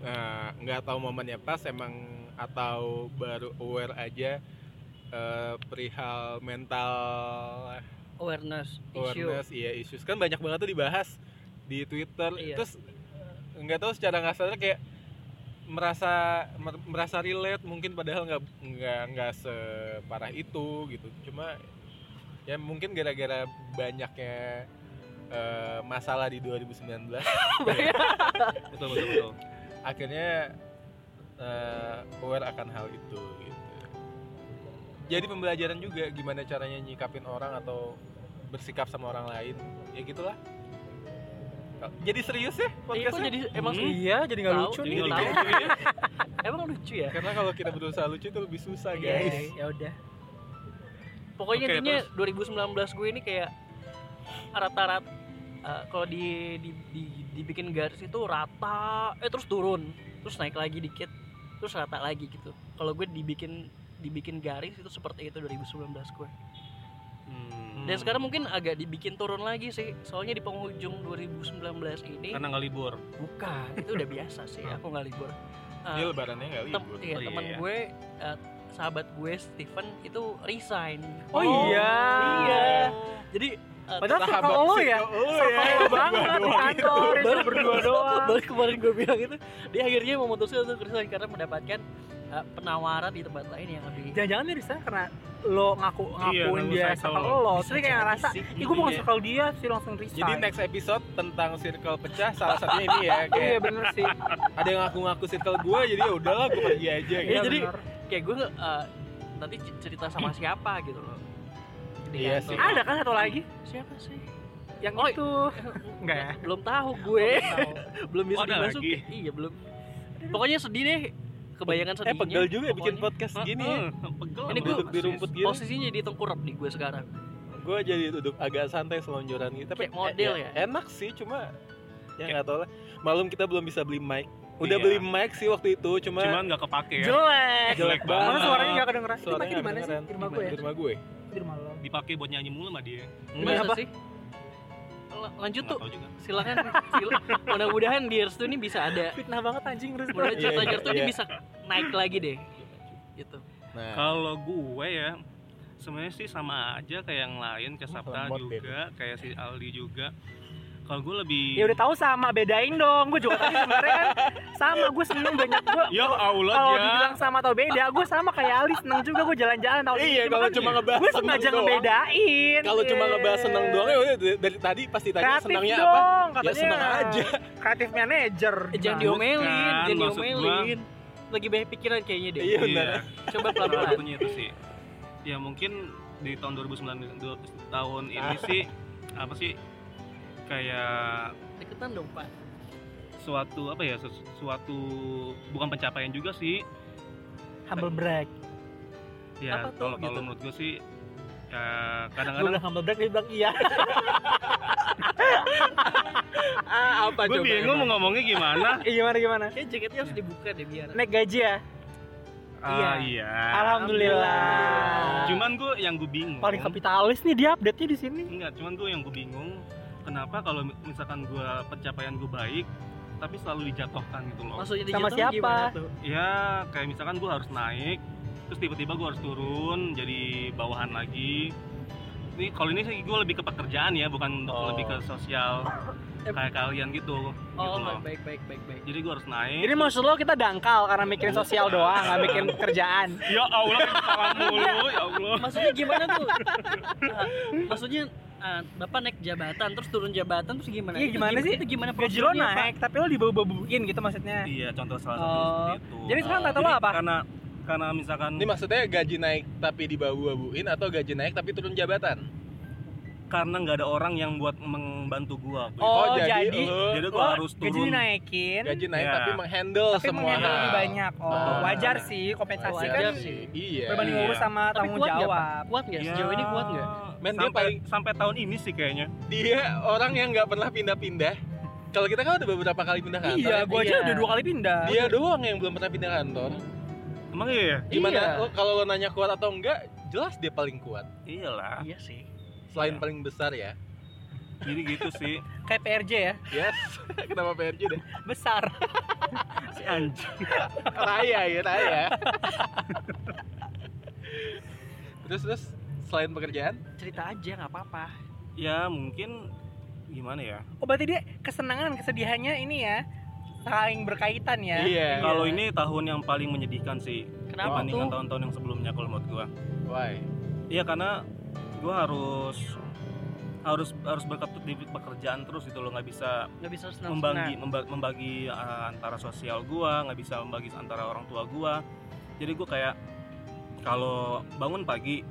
[SPEAKER 2] eh, nggak tahu momennya pas emang atau baru aware aja eh, perihal mental
[SPEAKER 3] awareness issue
[SPEAKER 2] awareness iya issues kan banyak banget tuh dibahas di Twitter
[SPEAKER 3] Iya.
[SPEAKER 2] terus nggak tahu secara nggak sadar kayak merasa mer- merasa relate mungkin padahal nggak nggak nggak separah itu gitu cuma ya mungkin gara-gara banyaknya eh, masalah di 2019
[SPEAKER 4] Betul betul betul.
[SPEAKER 2] akhirnya eh, aware akan hal itu gitu. Jadi pembelajaran juga gimana caranya nyikapin orang atau bersikap sama orang lain. Ya gitulah. Jadi serius
[SPEAKER 3] Eh,
[SPEAKER 2] ya
[SPEAKER 3] kok
[SPEAKER 2] podcastnya?
[SPEAKER 3] jadi emang
[SPEAKER 4] Hmm.
[SPEAKER 1] Iya, jadi nggak
[SPEAKER 3] Tahu,
[SPEAKER 1] lucu
[SPEAKER 3] jadi
[SPEAKER 1] nih.
[SPEAKER 4] Tinggal
[SPEAKER 3] tahu.
[SPEAKER 4] tahu ya.
[SPEAKER 3] emang lucu ya
[SPEAKER 2] Karena kalau kita berusaha lucu itu lebih susah
[SPEAKER 1] Iya,
[SPEAKER 2] guys.
[SPEAKER 1] Ya udah.
[SPEAKER 3] pokoknya
[SPEAKER 4] Oke,
[SPEAKER 3] intinya 2019 gue ini kayak rata-rata eh, kalau di, di, di- dibikin garis itu rata eh terus turun terus naik lagi dikit terus rata lagi gitu kalau gue dibikin dibikin garis itu seperti itu 2019 gue
[SPEAKER 4] Hmm.
[SPEAKER 3] dan sekarang mungkin agak dibikin turun lagi sih soalnya di penghujung 2019 ini
[SPEAKER 4] karena nggak libur.
[SPEAKER 3] bukan itu udah biasa sih aku nggak libur Eh,
[SPEAKER 2] Dia Iya, lebarannya nggak
[SPEAKER 3] tem-
[SPEAKER 2] libur.
[SPEAKER 3] iya,
[SPEAKER 4] Oh, iya,
[SPEAKER 3] teman
[SPEAKER 4] iya.
[SPEAKER 3] gue eh, sahabat gue Steven itu resign
[SPEAKER 1] Oh, iya.
[SPEAKER 3] iya jadi eh,
[SPEAKER 1] Padahal circle lo ya.
[SPEAKER 2] Oh,
[SPEAKER 1] Circle banget di kantor. Baru
[SPEAKER 3] baru (laughs)
[SPEAKER 1] berdua doang.
[SPEAKER 3] baru kemarin gue bilang itu dia akhirnya memutuskan untuk resign karena mendapatkan uh, penawaran di tempat lain yang lebih
[SPEAKER 1] Jangan-jangan dia resign karena lo ngaku
[SPEAKER 4] ngaku
[SPEAKER 1] ngakuin dia
[SPEAKER 4] circle
[SPEAKER 1] circle
[SPEAKER 4] lo.
[SPEAKER 3] Bisa
[SPEAKER 1] lo. Terus dia Oh, kayak
[SPEAKER 3] jadi
[SPEAKER 1] ngerasa,
[SPEAKER 3] sih.
[SPEAKER 1] ih gue bukan
[SPEAKER 2] Iya.
[SPEAKER 1] circle dia, sih langsung resign.
[SPEAKER 2] Jadi next episode tentang circle pecah salah satunya ini ya
[SPEAKER 1] Iya
[SPEAKER 2] kayak
[SPEAKER 1] bener sih.
[SPEAKER 2] ada yang ngaku-ngaku circle gue jadi ya udahlah gue pergi aja
[SPEAKER 1] Iya,
[SPEAKER 2] gitu.
[SPEAKER 3] jadi
[SPEAKER 1] bener.
[SPEAKER 3] kayak gue uh, nanti c- cerita sama siapa gitu loh Di
[SPEAKER 2] Iya
[SPEAKER 3] kantor.
[SPEAKER 2] sih.
[SPEAKER 1] ada kan satu lagi
[SPEAKER 3] siapa sih
[SPEAKER 1] yang
[SPEAKER 3] Oh,
[SPEAKER 1] itu. Enggak ya?
[SPEAKER 3] belum tahu gue belum bisa
[SPEAKER 4] Oh, ada
[SPEAKER 3] dimasukin. iya belum pokoknya sedih deh kebayangan
[SPEAKER 2] Eh
[SPEAKER 3] sedihnya
[SPEAKER 2] pegel juga ya bikin
[SPEAKER 3] pokoknya.
[SPEAKER 2] podcast gini ya.
[SPEAKER 4] Heeh, Pegel.
[SPEAKER 3] ini gue
[SPEAKER 2] duduk di rumput gini.
[SPEAKER 3] posisinya jadi tengkurap nih gue sekarang
[SPEAKER 2] gue jadi duduk agak santai selonjoran gitu tapi
[SPEAKER 3] Kayak model
[SPEAKER 2] eh,
[SPEAKER 3] ya?
[SPEAKER 2] enak sih cuma ya nggak tahu lah malum kita belum bisa beli mic udah
[SPEAKER 4] Iya.
[SPEAKER 2] beli mic sih waktu itu cuma,
[SPEAKER 4] Cuman nggak kepake ya.
[SPEAKER 1] Jelek.
[SPEAKER 2] jelek
[SPEAKER 1] Mana
[SPEAKER 2] banget
[SPEAKER 1] suaranya gak kedengeran? Itu
[SPEAKER 2] suaranya
[SPEAKER 1] mic-nya di mana sih?
[SPEAKER 2] kedengeran.
[SPEAKER 1] Di rumah gue ya?
[SPEAKER 2] di rumah gue
[SPEAKER 1] Di rumah lo.
[SPEAKER 4] Dipakai buat nyanyi mulu sama dia.
[SPEAKER 2] Enggak,
[SPEAKER 3] Masa
[SPEAKER 1] apa?
[SPEAKER 3] sih L- lanjut
[SPEAKER 4] Nggak
[SPEAKER 3] tuh
[SPEAKER 4] tahu juga.
[SPEAKER 3] silakan Sil- mudah-mudahan di Restu ini bisa ada
[SPEAKER 1] Fitnah banget anjing terus.
[SPEAKER 3] mudah
[SPEAKER 2] Iya,
[SPEAKER 3] cerita
[SPEAKER 2] iya,
[SPEAKER 3] cerita ini
[SPEAKER 2] iya.
[SPEAKER 3] bisa naik lagi deh gitu
[SPEAKER 2] nah
[SPEAKER 4] Kalau gue ya sebenarnya sih sama aja kayak yang lain kayak
[SPEAKER 2] Oh,
[SPEAKER 4] Sabta
[SPEAKER 2] lemot,
[SPEAKER 4] juga, kayak si Aldi juga. Kalau gue lebih
[SPEAKER 1] Ya udah tahu sama, bedain dong. Gue juga tadi sebenarnya kan sama, gue seneng banyak gue.
[SPEAKER 4] Ya Allah
[SPEAKER 1] Kalau
[SPEAKER 4] ya.
[SPEAKER 1] dibilang sama atau beda, gue sama kayak Ali seneng juga gue jalan-jalan tahun
[SPEAKER 2] iya
[SPEAKER 1] ini.
[SPEAKER 2] kalau cuma ngebahas
[SPEAKER 1] gue
[SPEAKER 2] seneng
[SPEAKER 1] sengaja
[SPEAKER 2] doang
[SPEAKER 1] ngebedain.
[SPEAKER 2] kalau cuma
[SPEAKER 1] Iya.
[SPEAKER 2] ngebahas seneng doang ya udah, dari, dari tadi pasti tanya
[SPEAKER 1] kreatif
[SPEAKER 2] senangnya
[SPEAKER 1] dong,
[SPEAKER 2] apa ya
[SPEAKER 1] katanya.
[SPEAKER 2] seneng aja
[SPEAKER 1] Kreatif manager. Nah,
[SPEAKER 3] Eh, jangan
[SPEAKER 1] Gimana?
[SPEAKER 3] diomelin
[SPEAKER 4] Bukan,
[SPEAKER 3] jangan
[SPEAKER 4] maksud
[SPEAKER 3] diomelin lagi banyak pikiran kayaknya deh
[SPEAKER 2] Iya, benar.
[SPEAKER 4] Iya.
[SPEAKER 3] coba
[SPEAKER 4] Salah
[SPEAKER 3] pelan-pelan
[SPEAKER 4] satunya itu sih. Ya mungkin di tahun 2009 du- tahun ini
[SPEAKER 2] Ah.
[SPEAKER 4] sih apa sih kayak
[SPEAKER 3] deketan dong pak
[SPEAKER 4] suatu apa ya sesuatu bukan pencapaian juga sih
[SPEAKER 1] Humble brag.
[SPEAKER 4] ya
[SPEAKER 3] Apa tuh
[SPEAKER 4] kalau kalau
[SPEAKER 3] gitu?
[SPEAKER 4] menurut gue sih ya
[SPEAKER 1] Gue
[SPEAKER 4] kadang-kadang
[SPEAKER 1] bilang humble brag, dia bilang iya.
[SPEAKER 3] (laughs)
[SPEAKER 2] ah, apa
[SPEAKER 4] gue bingung mau ngomongnya gimana
[SPEAKER 1] Eh, gimana gimana?
[SPEAKER 3] kayak jaketnya harus dibuka deh biar
[SPEAKER 1] Naik gaji ya?
[SPEAKER 4] ah iya
[SPEAKER 1] Alhamdulillah.
[SPEAKER 4] cuman gue yang gue bingung
[SPEAKER 1] Ah. Paling kapitalis nih dia update-nya di sini.
[SPEAKER 4] Enggak, cuman gue yang gue bingung kenapa kalau misalkan gue pencapaian gue baik tapi selalu dijatuhkan gitu loh
[SPEAKER 3] Maksudnya
[SPEAKER 1] Sama
[SPEAKER 3] dijatuhin
[SPEAKER 1] siapa?
[SPEAKER 3] gimana tuh?
[SPEAKER 4] ya kayak misalkan gue harus naik terus tiba-tiba gue harus turun jadi bawahan lagi ini kalau ini sih gue lebih ke pekerjaan ya bukan untuk
[SPEAKER 2] Oh.
[SPEAKER 4] lebih ke sosial
[SPEAKER 3] Eh.
[SPEAKER 4] kayak kalian gitu gitu
[SPEAKER 3] Oh,
[SPEAKER 4] loh.
[SPEAKER 3] baik, baik, baik, baik, baik.
[SPEAKER 4] jadi gue harus naik
[SPEAKER 1] Jadi maksud lo kita dangkal karena mikirin sosial doang, nggak mikirin kerjaan.
[SPEAKER 4] ya allah ketawa mulu ya
[SPEAKER 1] (laughs)
[SPEAKER 4] allah
[SPEAKER 3] Maksudnya gimana tuh? Ah, maksudnya ah, bapak naik jabatan terus turun jabatan terus gimana?
[SPEAKER 1] Iya,
[SPEAKER 3] Itu
[SPEAKER 1] gimana
[SPEAKER 3] gim-
[SPEAKER 1] sih?
[SPEAKER 3] Itu gimana
[SPEAKER 1] Gaji lo
[SPEAKER 2] Iya,
[SPEAKER 3] prosedurnya, Pak?
[SPEAKER 1] naik, tapi lo dibawa-bawain gitu maksudnya.
[SPEAKER 4] iya contoh salah satu
[SPEAKER 1] Oh.
[SPEAKER 4] seperti itu
[SPEAKER 1] Jadi
[SPEAKER 2] Iya.
[SPEAKER 1] sekarang tata
[SPEAKER 4] Jadi
[SPEAKER 1] lo apa?
[SPEAKER 4] karena karena misalkan
[SPEAKER 2] Ini maksudnya gaji naik tapi dibabu-babuin atau gaji naik tapi turun jabatan?
[SPEAKER 4] karena nggak ada orang yang buat membantu gue
[SPEAKER 1] Oh, jadi
[SPEAKER 2] lu
[SPEAKER 4] jadi
[SPEAKER 3] oh,
[SPEAKER 4] gue
[SPEAKER 1] Lo
[SPEAKER 4] harus
[SPEAKER 1] gaji
[SPEAKER 4] turun
[SPEAKER 3] ya?
[SPEAKER 1] dinaikin,
[SPEAKER 2] gaji naik
[SPEAKER 4] Iya.
[SPEAKER 2] tapi menghandle
[SPEAKER 1] tapi
[SPEAKER 2] semua
[SPEAKER 1] menghandle lebih
[SPEAKER 2] hal.
[SPEAKER 1] banyak. Oh,
[SPEAKER 2] Betul.
[SPEAKER 1] wajar sih, kompensasi
[SPEAKER 3] Wajar
[SPEAKER 1] kan
[SPEAKER 3] sih.
[SPEAKER 2] Iya.
[SPEAKER 1] berbanding
[SPEAKER 4] Iya.
[SPEAKER 1] lurus sama
[SPEAKER 3] Tapi
[SPEAKER 1] tanggung
[SPEAKER 3] kuat nggak, Pak?
[SPEAKER 1] jawab.
[SPEAKER 3] Kuat nggak?
[SPEAKER 4] Ya,
[SPEAKER 3] Sejauh ini kuat nggak?
[SPEAKER 2] Men, dia
[SPEAKER 4] sampai,
[SPEAKER 2] paling-
[SPEAKER 4] sampai tahun ini sih kayaknya
[SPEAKER 2] Dia orang yang nggak pernah pindah-pindah. Kalau kita kan udah beberapa kali pindah kantor.
[SPEAKER 1] Iya,
[SPEAKER 2] ya.
[SPEAKER 1] gue aja
[SPEAKER 3] Iya.
[SPEAKER 1] udah dua kali pindah.
[SPEAKER 2] Dia doang yang belum pernah pindah kantor.
[SPEAKER 4] emang iya ya
[SPEAKER 2] Gimana
[SPEAKER 1] Iya.
[SPEAKER 2] lo- kalau lo nanya kuat atau enggak? Jelas dia paling kuat.
[SPEAKER 4] iyalah
[SPEAKER 3] Iya sih.
[SPEAKER 2] Selain
[SPEAKER 4] Iya.
[SPEAKER 2] paling besar ya.
[SPEAKER 4] jadi gitu sih
[SPEAKER 1] Kayak PRJ ya,
[SPEAKER 2] Yes. (laughs) Kenapa PRJ deh?
[SPEAKER 1] besar.
[SPEAKER 4] (laughs) si anjing
[SPEAKER 2] Raya ya, raya.
[SPEAKER 1] (laughs)
[SPEAKER 2] terus terus selain pekerjaan?
[SPEAKER 3] Cerita aja nggak apa-apa.
[SPEAKER 4] ya mungkin gimana ya
[SPEAKER 1] Oh berarti dia kesenangan dan kesedihannya ini ya saling berkaitan ya.
[SPEAKER 2] Iya.
[SPEAKER 4] kalau ini tahun yang paling menyedihkan sih
[SPEAKER 3] Kenapa
[SPEAKER 4] dibandingkan
[SPEAKER 3] tuh?
[SPEAKER 4] tahun-tahun yang sebelumnya kalau menurut gua
[SPEAKER 2] Why?
[SPEAKER 4] iya karena gua harus harus harus berkatut di pekerjaan terus gitu loh nggak bisa
[SPEAKER 3] Nggak bisa senang
[SPEAKER 4] membagi memba- membagi uh, antara sosial gua nggak bisa membagi antara orang tua gua jadi gua kayak kalau bangun pagi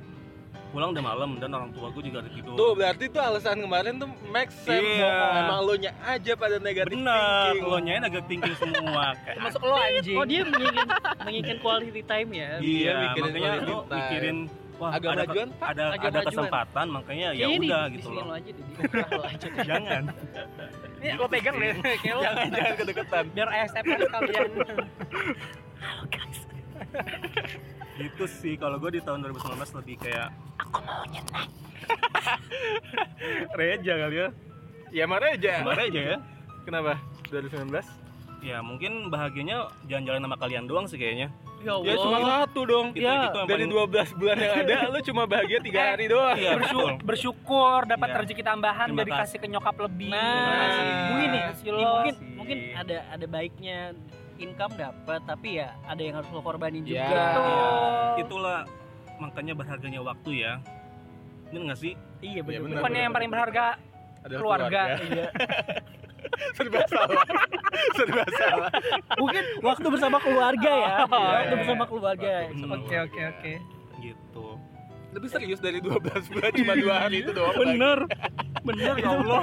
[SPEAKER 4] pulang udah malam dan orang tua gua juga udah tidur
[SPEAKER 2] Tuh berarti tuh alasan kemarin tuh make sense
[SPEAKER 4] Iya.
[SPEAKER 2] bohong. Emang lo nya aja pada negatif
[SPEAKER 4] bener
[SPEAKER 2] thinking.
[SPEAKER 4] lo nyain agak thinking
[SPEAKER 2] (laughs)
[SPEAKER 4] semua kayak
[SPEAKER 1] Masuk lo anjing.
[SPEAKER 3] Oh, dia menginginkan menginginkan quality time ya.
[SPEAKER 2] Iya,
[SPEAKER 4] Iya,
[SPEAKER 2] mikirin
[SPEAKER 4] makanya
[SPEAKER 2] quality
[SPEAKER 4] lu
[SPEAKER 2] time.
[SPEAKER 4] mikirin wah
[SPEAKER 2] Agak
[SPEAKER 4] ada
[SPEAKER 2] majuan pak.
[SPEAKER 4] ada
[SPEAKER 3] Agak
[SPEAKER 4] ada
[SPEAKER 3] majuan.
[SPEAKER 4] kesempatan makanya ya
[SPEAKER 3] Kayaknya di-
[SPEAKER 4] udah
[SPEAKER 3] di
[SPEAKER 4] gitu
[SPEAKER 3] sini (laughs)
[SPEAKER 4] loh.
[SPEAKER 3] lo aja deh, di sini lo aja
[SPEAKER 4] (laughs)
[SPEAKER 3] deh.
[SPEAKER 4] Jangan. Gitu,
[SPEAKER 1] Ini lo Iya, pegang deh. Kayak lo
[SPEAKER 2] Jangan jangan kedeketan.
[SPEAKER 1] biar ASMR sekalian.
[SPEAKER 4] gitu sih kalau gue di tahun 2019 lebih kayak aku mau nyetak. (laughs) Reja kali ya.
[SPEAKER 2] Ya marah aja.
[SPEAKER 4] Kemarin aja ya.
[SPEAKER 2] Kenapa? 2019?
[SPEAKER 4] Ya mungkin bahagianya jalan-jalan sama kalian doang sih kayaknya.
[SPEAKER 3] Ya Allah.
[SPEAKER 2] Ya cuma satu dong. Ya,
[SPEAKER 4] Itu- itu yang
[SPEAKER 2] Dari
[SPEAKER 4] paling-
[SPEAKER 2] 12 bulan yang ada lo cuma bahagia 3
[SPEAKER 1] Eh.
[SPEAKER 2] hari doang.
[SPEAKER 4] Iya, betul.
[SPEAKER 1] Bersyukur dapat
[SPEAKER 4] Iya.
[SPEAKER 1] rezeki tambahan
[SPEAKER 4] Terima
[SPEAKER 1] dari kasih ke nyokap lebih.
[SPEAKER 3] Terima
[SPEAKER 4] kasih.
[SPEAKER 1] Mungkin nih,
[SPEAKER 3] Terima
[SPEAKER 1] si
[SPEAKER 3] Ih,
[SPEAKER 1] lo.
[SPEAKER 3] mungkin
[SPEAKER 4] sih.
[SPEAKER 3] mungkin ada ada baiknya income dapat tapi ya ada yang harus lo korbanin juga.
[SPEAKER 2] Ya.
[SPEAKER 1] Betul.
[SPEAKER 4] Itulah makanya berharganya waktu ya. Bener nggak sih?
[SPEAKER 3] Iya benar.
[SPEAKER 2] benar,
[SPEAKER 1] Bukannya yang paling berharga
[SPEAKER 2] Ada
[SPEAKER 1] keluarga. Iya.
[SPEAKER 2] Serba salah. (laughs) Serba salah.
[SPEAKER 3] Mungkin waktu bersama keluarga
[SPEAKER 1] (laughs)
[SPEAKER 3] ya.
[SPEAKER 1] Iya.
[SPEAKER 3] waktu bersama keluarga.
[SPEAKER 2] Waktu bersama
[SPEAKER 1] Oke
[SPEAKER 2] keluarga.
[SPEAKER 1] oke oke.
[SPEAKER 4] Gitu.
[SPEAKER 2] Tapi serius dari 12 bulan cuma 2 hari itu doang.
[SPEAKER 3] Bener ya Allah.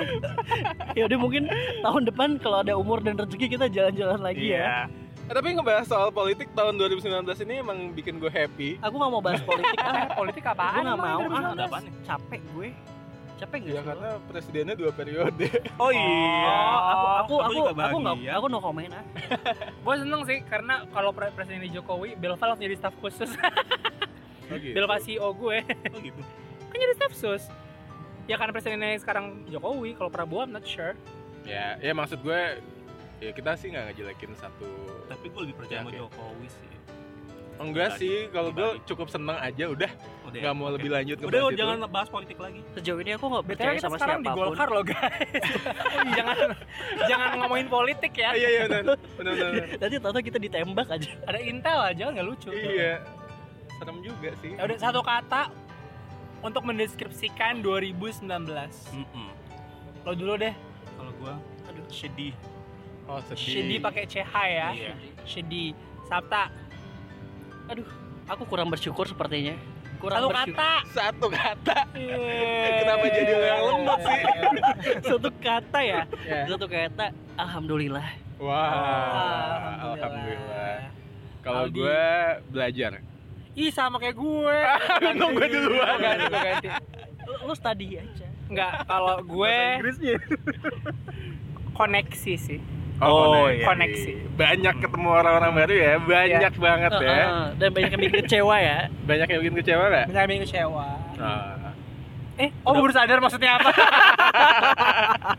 [SPEAKER 3] ya udah mungkin tahun depan kalau ada umur dan rezeki kita jalan-jalan lagi ya.
[SPEAKER 4] (laughs) Iya.
[SPEAKER 2] Eh, tapi ngebahas soal politik tahun 2019 ini emang bikin gue happy.
[SPEAKER 3] Aku nggak mau bahas politik ah.
[SPEAKER 1] Eh, politik apaan?
[SPEAKER 3] Gue nggak
[SPEAKER 1] emang
[SPEAKER 3] mau
[SPEAKER 1] dari
[SPEAKER 3] ah.
[SPEAKER 1] dulu?
[SPEAKER 4] Ada apaan ya?
[SPEAKER 3] Capek gue. Capek gak
[SPEAKER 2] Ya karena presidennya dua periode.
[SPEAKER 4] Oh iya.
[SPEAKER 3] aku aku
[SPEAKER 4] Aku
[SPEAKER 3] aku
[SPEAKER 4] juga
[SPEAKER 3] aku nggak
[SPEAKER 4] bahagia.
[SPEAKER 3] aku no comment ah.
[SPEAKER 1] Gue seneng sih karena kalau pre- presiden Jokowi, Belval harus jadi staf khusus. Belval CEO E gue
[SPEAKER 4] Oh (laughs) gitu.
[SPEAKER 1] kan jadi staf sus. Ya karena presidennya sekarang Jokowi, kalau Prabowo I'm not sure.
[SPEAKER 2] Ya, ya maksud gue ya kita sih nggak ngejelekin satu.
[SPEAKER 4] Tapi gue lebih percaya sama
[SPEAKER 2] Oke.
[SPEAKER 4] Jokowi sih.
[SPEAKER 2] Enggak
[SPEAKER 4] Dibalik,
[SPEAKER 2] sih, kalau gue
[SPEAKER 4] dibalik.
[SPEAKER 2] cukup seneng aja udah.
[SPEAKER 1] Iya.
[SPEAKER 4] Udah.
[SPEAKER 2] Nggak mau
[SPEAKER 4] oke.
[SPEAKER 2] lebih lanjut ke
[SPEAKER 4] Udah
[SPEAKER 2] bahas itu.
[SPEAKER 4] jangan bahas politik lagi.
[SPEAKER 3] Sejauh ini aku nggak
[SPEAKER 1] Betul
[SPEAKER 3] percaya
[SPEAKER 1] kita
[SPEAKER 3] sama
[SPEAKER 1] sekarang di
[SPEAKER 3] siapapun.
[SPEAKER 1] Golkar loh guys. (laughs) jangan jangan ngomongin politik
[SPEAKER 2] Ah,
[SPEAKER 1] ya.
[SPEAKER 2] Iya iya benar. Benar benar.
[SPEAKER 1] (laughs)
[SPEAKER 3] Nanti tahu kita ditembak aja.
[SPEAKER 1] Ada intel aja nggak lucu.
[SPEAKER 2] Iya. Serem juga sih.
[SPEAKER 1] Ya udah satu kata untuk mendeskripsikan 2019.
[SPEAKER 4] Mm-mm.
[SPEAKER 1] Lo dulu deh.
[SPEAKER 4] Kalau gue
[SPEAKER 3] Aduh.
[SPEAKER 4] sedih.
[SPEAKER 2] Oh, sedih.
[SPEAKER 1] Shidi pakai CH ya.
[SPEAKER 4] Iya.
[SPEAKER 1] Shidi Sabta.
[SPEAKER 3] Aku kurang bersyukur sepertinya. Kurang
[SPEAKER 1] Satu
[SPEAKER 3] bersyukur.
[SPEAKER 1] kata.
[SPEAKER 2] Satu kata.
[SPEAKER 1] Kenapa
[SPEAKER 2] jadi lo yang lemot
[SPEAKER 1] (laughs)
[SPEAKER 2] sih?
[SPEAKER 1] Iya.
[SPEAKER 3] Satu kata ya.
[SPEAKER 2] Ya.
[SPEAKER 3] Satu kata alhamdulillah.
[SPEAKER 2] Wah.
[SPEAKER 1] Alhamdulillah.
[SPEAKER 2] Ah, Alhamdulillah. Kalau
[SPEAKER 1] Aldi. Eh.
[SPEAKER 2] gue belajar.
[SPEAKER 1] Ih sama kayak gue.
[SPEAKER 2] (laughs) Untung gue duluan.
[SPEAKER 1] Gue ganti, gue ganti.
[SPEAKER 3] Lu, lu study aja.
[SPEAKER 1] Enggak, kalau gue
[SPEAKER 4] Inggrisnya.
[SPEAKER 1] koneksi sih.
[SPEAKER 4] Oh,
[SPEAKER 2] koneksi.
[SPEAKER 1] iya. Koneksi. Iya.
[SPEAKER 2] Banyak ketemu orang-orang baru ya, banyak banget
[SPEAKER 3] Eh,
[SPEAKER 2] ya.
[SPEAKER 3] eh, dan banyak yang bikin kecewa ya.
[SPEAKER 2] Banyak yang bikin kecewa nggak?
[SPEAKER 1] Mengalami kecewa.
[SPEAKER 2] Ah.
[SPEAKER 1] Eh, oh baru sadar maksudnya apa?